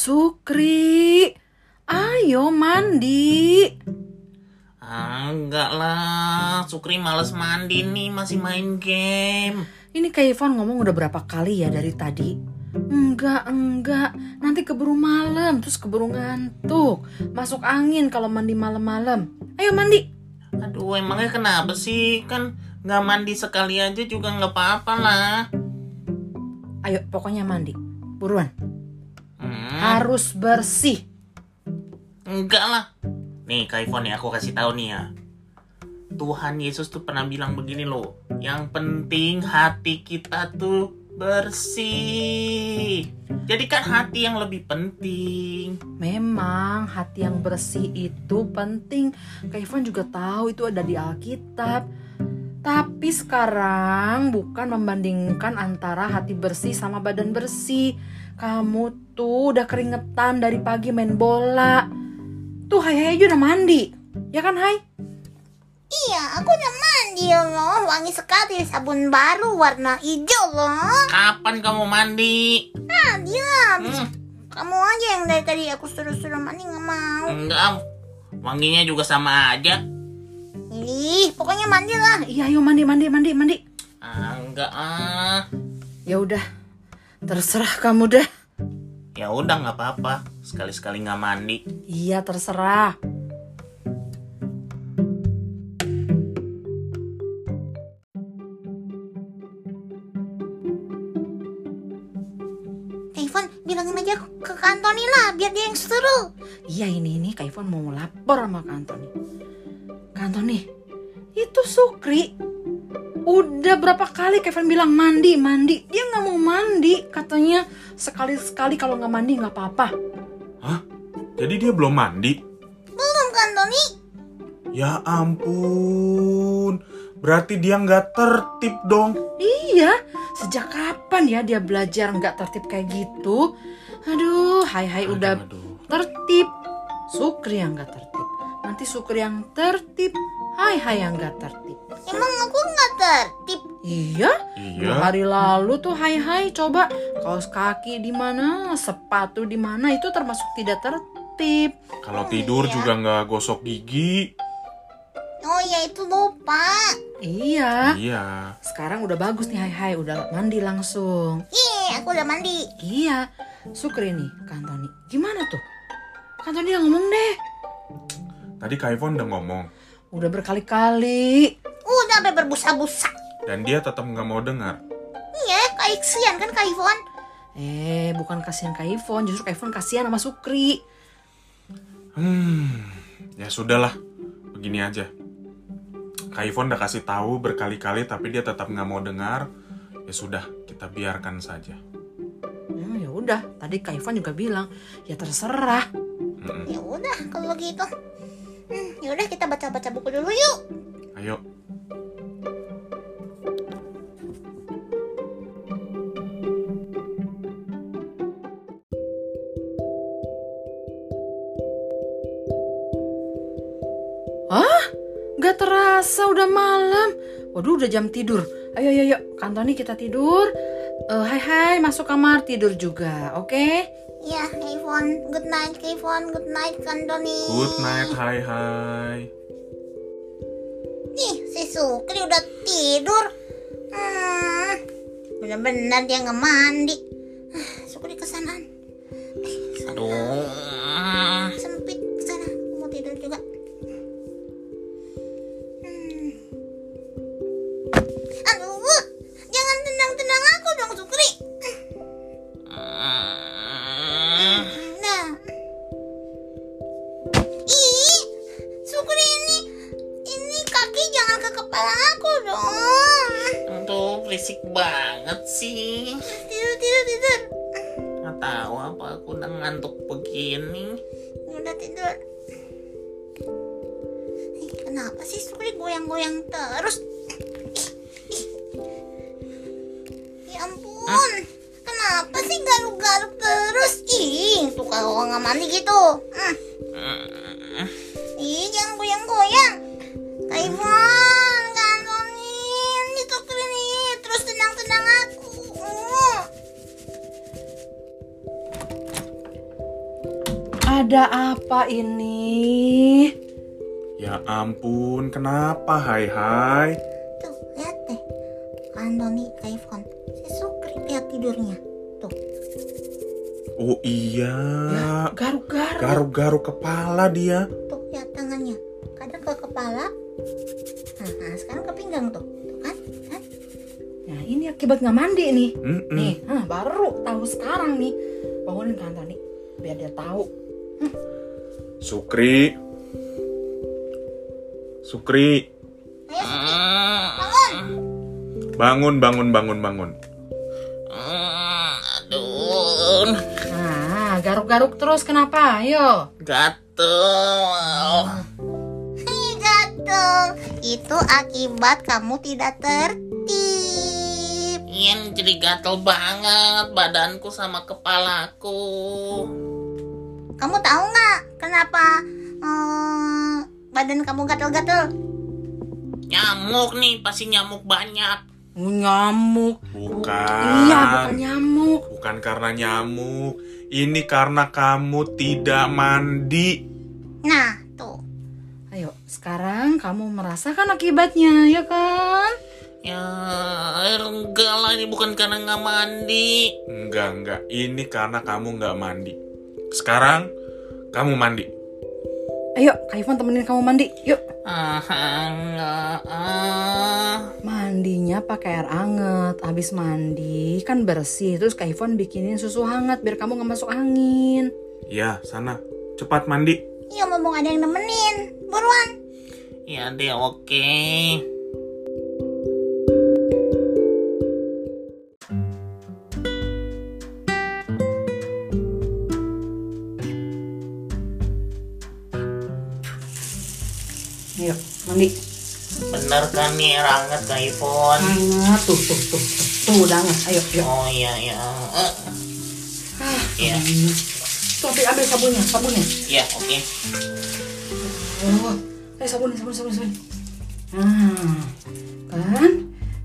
Sukri, ayo mandi. Ah, enggak lah, Sukri males mandi nih, masih main game. Ini kayak Ivan ngomong udah berapa kali ya dari tadi? Enggak, enggak. Nanti keburu malam, terus keburu ngantuk. Masuk angin kalau mandi malam-malam. Ayo mandi. Aduh, emangnya kenapa sih? Kan nggak mandi sekali aja juga nggak apa-apa lah. Ayo, pokoknya mandi. Buruan. Hmm, Harus bersih. enggak lah. Nih, Kak Ivon ya, aku kasih tahu nih ya. Tuhan Yesus tuh pernah bilang begini loh. Yang penting hati kita tuh bersih. Jadikan hati yang lebih penting. Memang hati yang bersih itu penting. Kak Ivan juga tahu itu ada di Alkitab. Tapi sekarang bukan membandingkan antara hati bersih sama badan bersih. Kamu tuh udah keringetan dari pagi main bola. Tuh Hai Hai aja udah mandi. Ya kan Hai? Iya, aku udah mandi loh. Wangi sekali sabun baru warna hijau loh. Kapan kamu mandi? Nah, diam. Hmm. Kamu aja yang dari tadi aku suruh-suruh mandi nggak mau. Enggak, wanginya juga sama aja. Ih, pokoknya mandi lah. Iya ayo mandi mandi mandi mandi. Ah, enggak ah. Ya udah. Terserah kamu deh. Ya udah nggak apa-apa. Sekali-sekali nggak mandi. Iya terserah. Eh, Ivan, bilangin aja ke Kak Antoni lah, biar dia yang suruh. Iya ini ini Kak Ivan mau lapor sama Kak Antoni. Kak Antoni, itu Sukri. Udah berapa kali Kevin bilang mandi, mandi. Dia nggak mau mandi. Katanya sekali-sekali kalau nggak mandi nggak apa-apa. Jadi dia belum mandi? Belum Kak Antoni? Ya ampun, berarti dia nggak tertib dong. Iya, sejak kapan ya dia belajar nggak tertib kayak gitu? Aduh, hai hai Eh, udah Aduh, tertib. Sukri yang nggak tertib. Nanti Sukri yang tertib. Hai hai yang nggak tertib. Emang aku nggak tertip. Iya, Dua Iya, hari lalu tuh hai hai coba kaos kaki di mana, sepatu di mana itu termasuk tidak tertib. kalau tidur Iya. juga nggak gosok gigi. Oh ya itu lupa. Iya. Iya. Sekarang udah bagus nih hai hai udah mandi langsung. Iya, aku udah mandi. Iya. Sukri nih, Kantoni. Gimana tuh? Kantoni yang ngomong deh. Tadi Kak Ivon udah ngomong, Udah berkali-kali. Udah sampai berbusa-busa. dan dia tetap nggak mau dengar. Iya, Kak Iksian kan Kak Ivan. Eh, bukan kasihan Kak Ivon, justru Kak Ivon kasihan sama Sukri. Hmm, ya sudahlah, begini aja. Kak Ivon udah kasih tahu berkali-kali, tapi dia tetap nggak mau dengar. Ya sudah, kita biarkan saja. Hmm, ya udah, tadi Kak Ivon juga bilang, ya terserah. Mm-mm. Ya udah, kalau gitu. Hmm, ya udah kita baca-baca buku dulu yuk. Ayo, Gak terasa udah malam. Waduh udah jam tidur. Ayo ayo ayo, Kantoni kita tidur. Eh, hai hai masuk kamar tidur juga, oke? Ya, Kevon. Good night, Kevon. Good night, Kandoni. good night, hai hai. Nih, si Sukri udah tidur. Hmm, bener-bener dia nggak mandi. Ah, Sukri kesanaan. Aduh. Sempit kesana. Aku mau tidur juga. Hmm. Aduh, jangan tendang-tendang aku dong, Sukri. Nah. Ih, Sukri ini ini kaki jangan ke kepala aku dong. Aduh, berisik banget sih. Tidur tidur tidur. Nggak tahu apa aku udah ngantuk begini. Udah tidur. Ih, kenapa sih Sukri goyang-goyang terus? Ya ampun. Kenapa sih garuk-garuk terus? Ih, tuh kalau nggak mandi gitu. Hmm. Ih, jangan goyang-goyang. Kaimon, kantongin itu kini terus Hmm. tenang-tenang aku. Uh. Ada apa ini? Ya ampun, kenapa hai hai? Tuh, lihat deh. Kan Doni ke iPhone. Si Sukri lihat tidurnya. Oh iya, Garuk-garuk. garuk-garuk kepala dia. Tuh, lihat tangannya. Kadang ke kepala. Nah, nah, sekarang ke pinggang tuh. Tuh kan? Kan? Nah, ini akibat nggak mandi nih. Mm-mm. Nih, hah, baru tahu sekarang nih. Bangunin kan Tani, biar dia tahu. Sukri. Sukri, Ayo, Sukri. Ah, bangun bangun bangun bangun. Hmm, aduh, Nah, garuk-garuk terus kenapa? Ayo. gatel. Ih, gatel. Itu akibat kamu tidak tertib. Ian Iya, jadi gatel banget badanku sama kepalaku. Kamu tahu nggak kenapa eh, badan kamu gatel-gatel? Nyamuk nih, pasti nyamuk banyak. Nyamuk. Bukan. Iya, bukan nyamuk. Bukan karena nyamuk. Ini karena kamu tidak mandi. Nah, tuh. Ayo, sekarang kamu merasakan akibatnya, ya kan? Ya, enggak lah ini bukan karena nggak mandi. Enggak, enggak. Ini karena kamu nggak mandi. Sekarang kamu mandi. Ayo, Kak Ivon temenin kamu mandi. Yuk, Ah, ah, ah. mandinya pakai air anget. Habis mandi kan bersih. Terus Kak Ivon bikinin susu hangat biar kamu nggak masuk angin. Ya, sana. Cepat mandi. Iya, mumpung ada yang nemenin. Buruan. Ya deh, oke. Ayo, mandi. Bener kan nih air hangat Kak Ivon? Hangat, tuh, tuh, tuh. Tuh, udah hangat. Ayo, yuk. Oh iya, iya. Eh, Iya, Tuh, ambil, ambil sabunnya, sabunnya. iya, oke. Oh, eh sabun, sabun, sabun, sabun. Nah, kan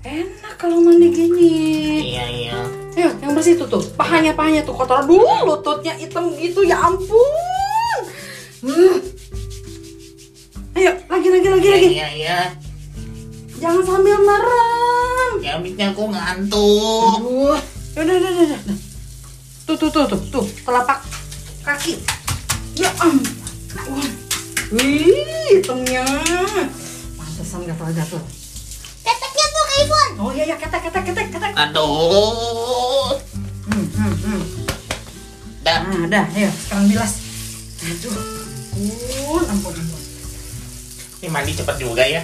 enak kalau mandi gini. Iya, iya. Ayo, yang bersih itu tuh, pahanya, pahanya tuh kotor dulu, lututnya hitam gitu, ya ampun. Hmm. Ayo, lagi, lagi, lagi, Iya, lagi. iya, iya. Jangan sambil merem. Ya, abisnya aku ngantuk. Aduh, yaudah, udah, udah, udah. Tuh, tuh, tuh, tuh, tuh, telapak kaki. Ya ampun. Wih, hitamnya. Pantesan gatal-gatal. Keteknya tuh ke iPhone. Oh iya iya ketek ketek ketek ketek. Aduh. Hmm, hmm, hmm. Dah. Nah, dah, ayo sekarang bilas. Aduh. Uh, ampun ampun. Ini mandi cepat juga ya.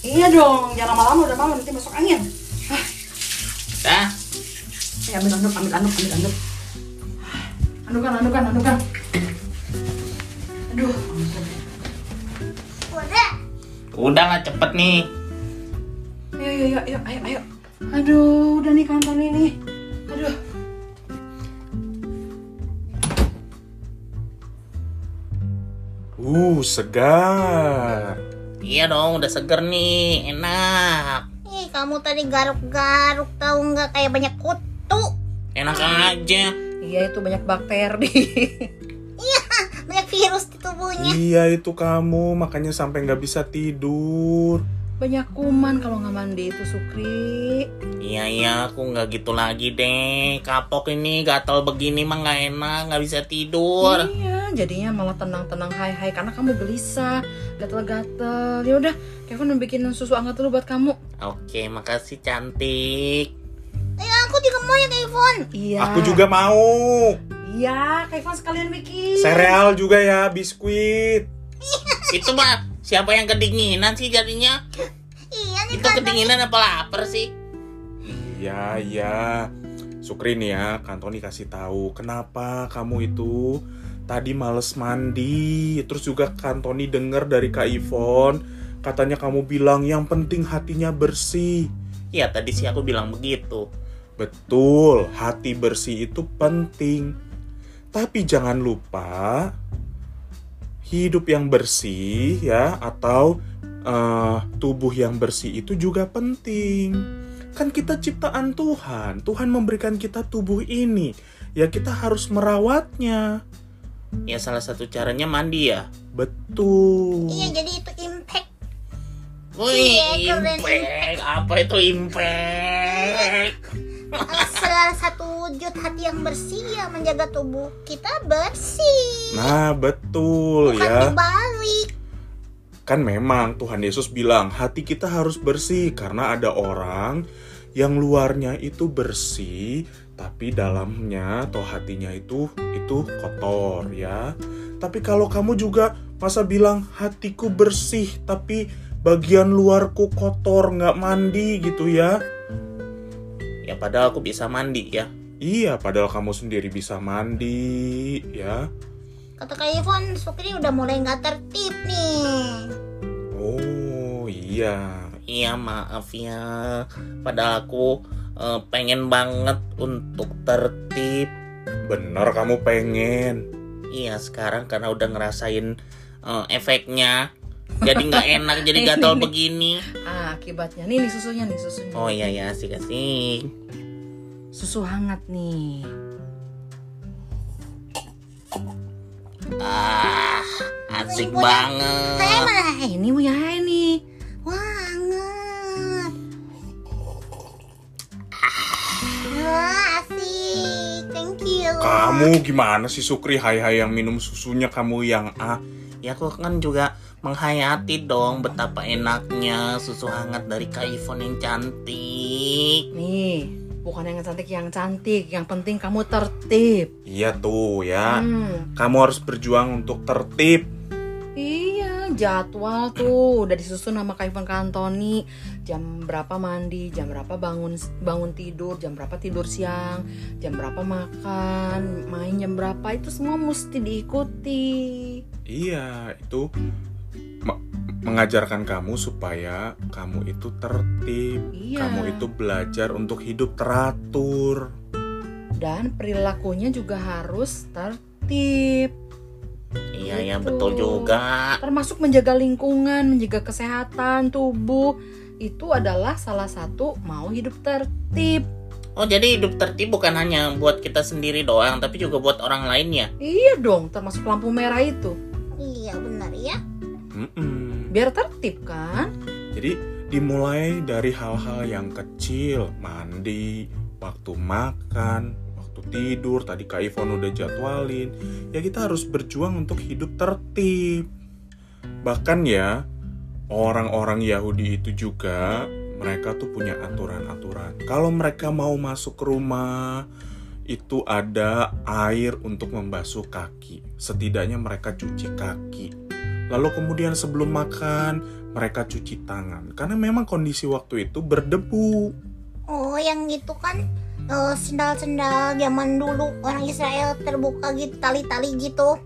Iya dong, jangan lama-lama udah malam nanti masuk angin. Hah, Dah. ayo Eh, ambil anduk, ambil anduk, ambil anduk. Hah, Andukan, andukan, andukan. Aduh, ampun. Udah. Udah lah cepet nih. Ayo, ayo, ayo, ayo, ayo. Aduh, udah nih kantor ini. Aduh. Uh, segar. Iya dong, udah seger nih. Enak. Ih, kamu tadi garuk-garuk tahu nggak kayak banyak kutu. Enak aja. Iya itu banyak bakteri. Banyak virus di tubuhnya. Iya itu kamu, makanya sampai nggak bisa tidur. banyak kuman kalau nggak mandi itu Sukri. Iya iya, aku nggak gitu lagi deh. Kapok ini gatal begini mah nggak enak, nggak bisa tidur. Iya, jadinya malah tenang-tenang hai hai karena kamu gelisah, gatel-gatel. Ya udah, Kevin mau bikinin susu hangat dulu buat kamu. Oke, makasih cantik. Ya, aku juga mau ya ke iPhone. Iya. Aku juga mau. Iya, Kevin sekalian bikin. Sereal juga ya, biskuit. Itu mah siapa yang kedinginan sih jadinya? Iya nih Itu kan. kedinginan apa lapar sih? Iya, iya. Sukri nih ya, Kantoni kasih tahu kenapa kamu itu tadi males mandi. Terus juga Kantoni dengar dari Kak Ivon, katanya kamu bilang yang penting hatinya bersih. Ya tadi sih aku bilang begitu. Betul, hati bersih itu penting. Tapi jangan lupa hidup yang bersih ya atau eh, tubuh yang bersih itu juga penting. Kan kita ciptaan Tuhan. Tuhan memberikan kita tubuh ini. Ya kita harus merawatnya. Ya salah satu caranya mandi ya. Betul. Iya jadi itu impact. Wih, Iya, keren. impact. Apa itu impact? Eh, Salah satu wujud hati yang bersih ya menjaga tubuh kita bersih. Kan Nah, betul iya. Bukan ya. dibalik. Kan memang Tuhan Yesus bilang, hati kita harus bersih karena ada orang yang luarnya itu bersih, tapi dalamnya atau hatinya itu itu kotor ya. Tapi kalau kamu juga masa bilang hatiku bersih tapi bagian luarku kotor nggak mandi gitu ya Ya padahal aku bisa mandi ya. Iya padahal kamu sendiri bisa mandi ya Kata Kak Ivon, Sukri udah mulai nggak tertib nih. Oh iya Iya maaf ya. Padahal aku eh, pengen banget untuk tertib. bener kamu pengen Iya sekarang karena udah ngerasain eh, efeknya jadi nggak enak jadi gatal begini. Ah, akibatnya nih, nih susunya nih susunya. Oh iya ya asik asik. Susu hangat nih. Ah asik Wih, Saya banget. malah Eh, ini wih hai nih. banget. Wah, Ah, asik. Thank you. Kamu gimana sih Sukri hai-hai yang minum susunya kamu yang ah Ya aku kan juga menghayati dong betapa enaknya susu hangat dari Kaifon yang cantik. Nih, bukan yang cantik yang cantik, yang penting kamu tertib. Iya tuh ya Hmm. Kamu harus berjuang untuk tertib Iya, jadwal tuh udah disusun sama Kak Ivan Kantoni. Jam berapa mandi, jam berapa bangun bangun tidur, jam berapa tidur siang, jam berapa makan, main jam berapa itu semua mesti diikuti. Iya itu me- mengajarkan kamu supaya kamu itu tertib Iya. Kamu itu belajar untuk hidup teratur Dan perilakunya juga harus tertib. Iya ya Gitu. betul juga. termasuk menjaga lingkungan, menjaga kesehatan tubuh itu adalah salah satu mau hidup tertib. Oh jadi hidup tertib bukan hanya buat kita sendiri doang tapi juga buat orang lain ya. Iya dong, termasuk lampu merah itu. Iya benar ya. Mm-mm. Biar tertib kan? Jadi dimulai dari hal-hal yang kecil Mandi, waktu makan, waktu tidur Tadi Kak Ivon udah jadwalin Ya kita harus berjuang untuk hidup tertib Bahkan ya orang-orang Yahudi itu juga mereka tuh punya aturan-aturan. Kalau mereka mau masuk ke rumah itu ada air untuk membasuh kaki. Setidaknya mereka cuci kaki. Lalu kemudian sebelum makan mereka cuci tangan karena memang kondisi waktu itu berdebu. Oh, yang itu kan eh, sendal-sendal zaman dulu orang Israel terbuka gitu tali-tali gitu.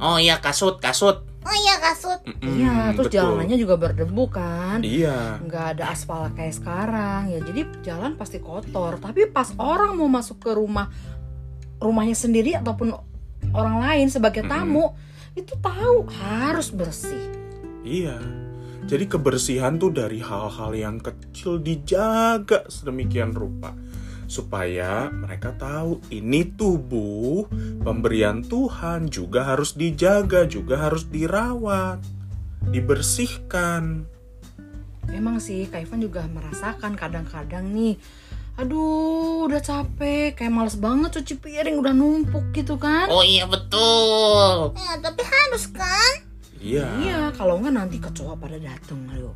Oh iya kasut kasut. Oh iya kasut. Mm-mm, iya, terus Hmm, betul. jalanannya juga berdebu kan? Iya, Nggak ada aspal kayak sekarang. Ya jadi jalan pasti kotor. Tapi pas orang mau masuk ke rumah rumahnya sendiri ataupun orang lain sebagai Mm-mm. tamu itu tahu harus bersih. iya. Jadi kebersihan tuh dari hal-hal yang kecil dijaga sedemikian rupa supaya mereka tahu ini tubuh pemberian Tuhan juga harus dijaga, juga harus dirawat, dibersihkan. Memang sih, Kak Ivan juga merasakan kadang-kadang nih, aduh udah capek, kayak males banget cuci piring, udah numpuk gitu kan. Oh iya betul. Ya, tapi harus kan? Iya. Iya, kalau nggak nanti kecoa pada dateng loh.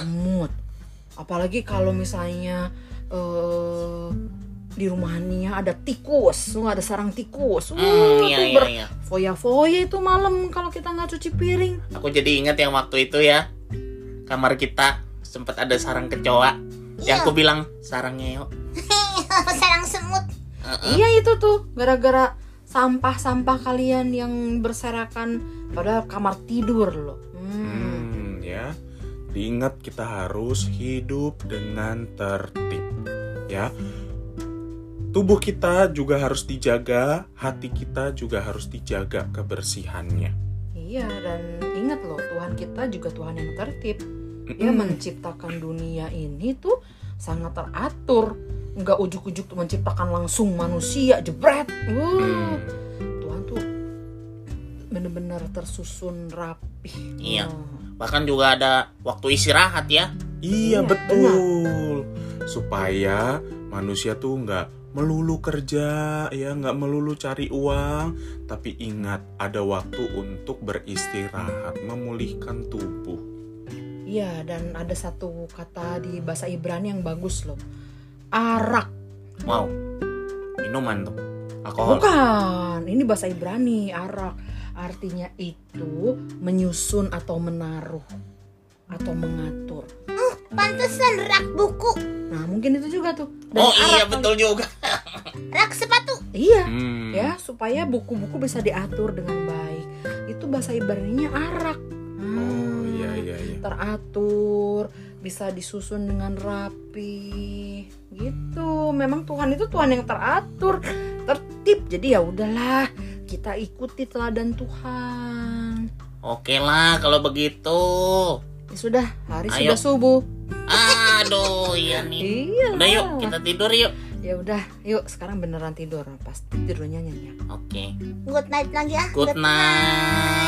Semut. Apalagi kalau misalnya eh di rumahnya ada tikus, wah, ada sarang tikus. Wah, Hmm, iya tuh iya ber- iya. foya-foya itu malam kalau kita nggak cuci piring. Aku jadi ingat yang waktu itu ya kamar kita sempat ada sarang kecoa. Yang Iya. aku bilang sarang ngeo. Sarang semut. Iya itu tuh gara-gara sampah-sampah kalian yang berserakan pada kamar tidur loh. Hmm. Hmm, ya. Diingat kita harus hidup dengan tertib, ya. Tubuh kita juga harus dijaga, hati kita juga harus dijaga kebersihannya. Iya dan ingat loh Tuhan kita juga Tuhan yang tertib. Dia Mm-mm. menciptakan dunia ini tuh sangat teratur. Nggak Mm. ujuk-ujuk tuh menciptakan langsung manusia jebret. Wuh, Hmm, Tuhan tuh bener-bener tersusun rapih. Iya. Hmm. Bahkan juga ada waktu istirahat ya. Iya Iya, betul. Supaya manusia tuh nggak melulu kerja, ya nggak melulu cari uang, tapi ingat ada waktu untuk beristirahat, memulihkan tubuh. Iya, dan ada satu kata di bahasa Ibrani yang bagus loh. Arak. Wow. Minuman tuh. Alkohol. Bukan, ini bahasa Ibrani, arak. Artinya itu menyusun atau menaruh atau mengatur. Pantesan rak buku, Nah, mungkin itu juga tuh. Dari Oh arak iya kali. betul juga. rak sepatu. Iya, Hmm. ya, supaya buku-buku bisa diatur dengan baik. Itu bahasa Ibraninya arak. Oh Hmm. iya iya iya. teratur, bisa disusun dengan rapi. Gitu. Memang Tuhan itu Tuhan yang teratur, tertib. Jadi ya udahlah, kita ikuti teladan Tuhan. Oke lah kalau begitu. Ya sudah, hari Ayo. sudah subuh. Aduh iya nih. Iya. Udah yuk kita tidur yuk. Ya udah, yuk sekarang beneran tidur. Pasti tidurnya nyenyak. Oke. Good night lagi ah. Good night.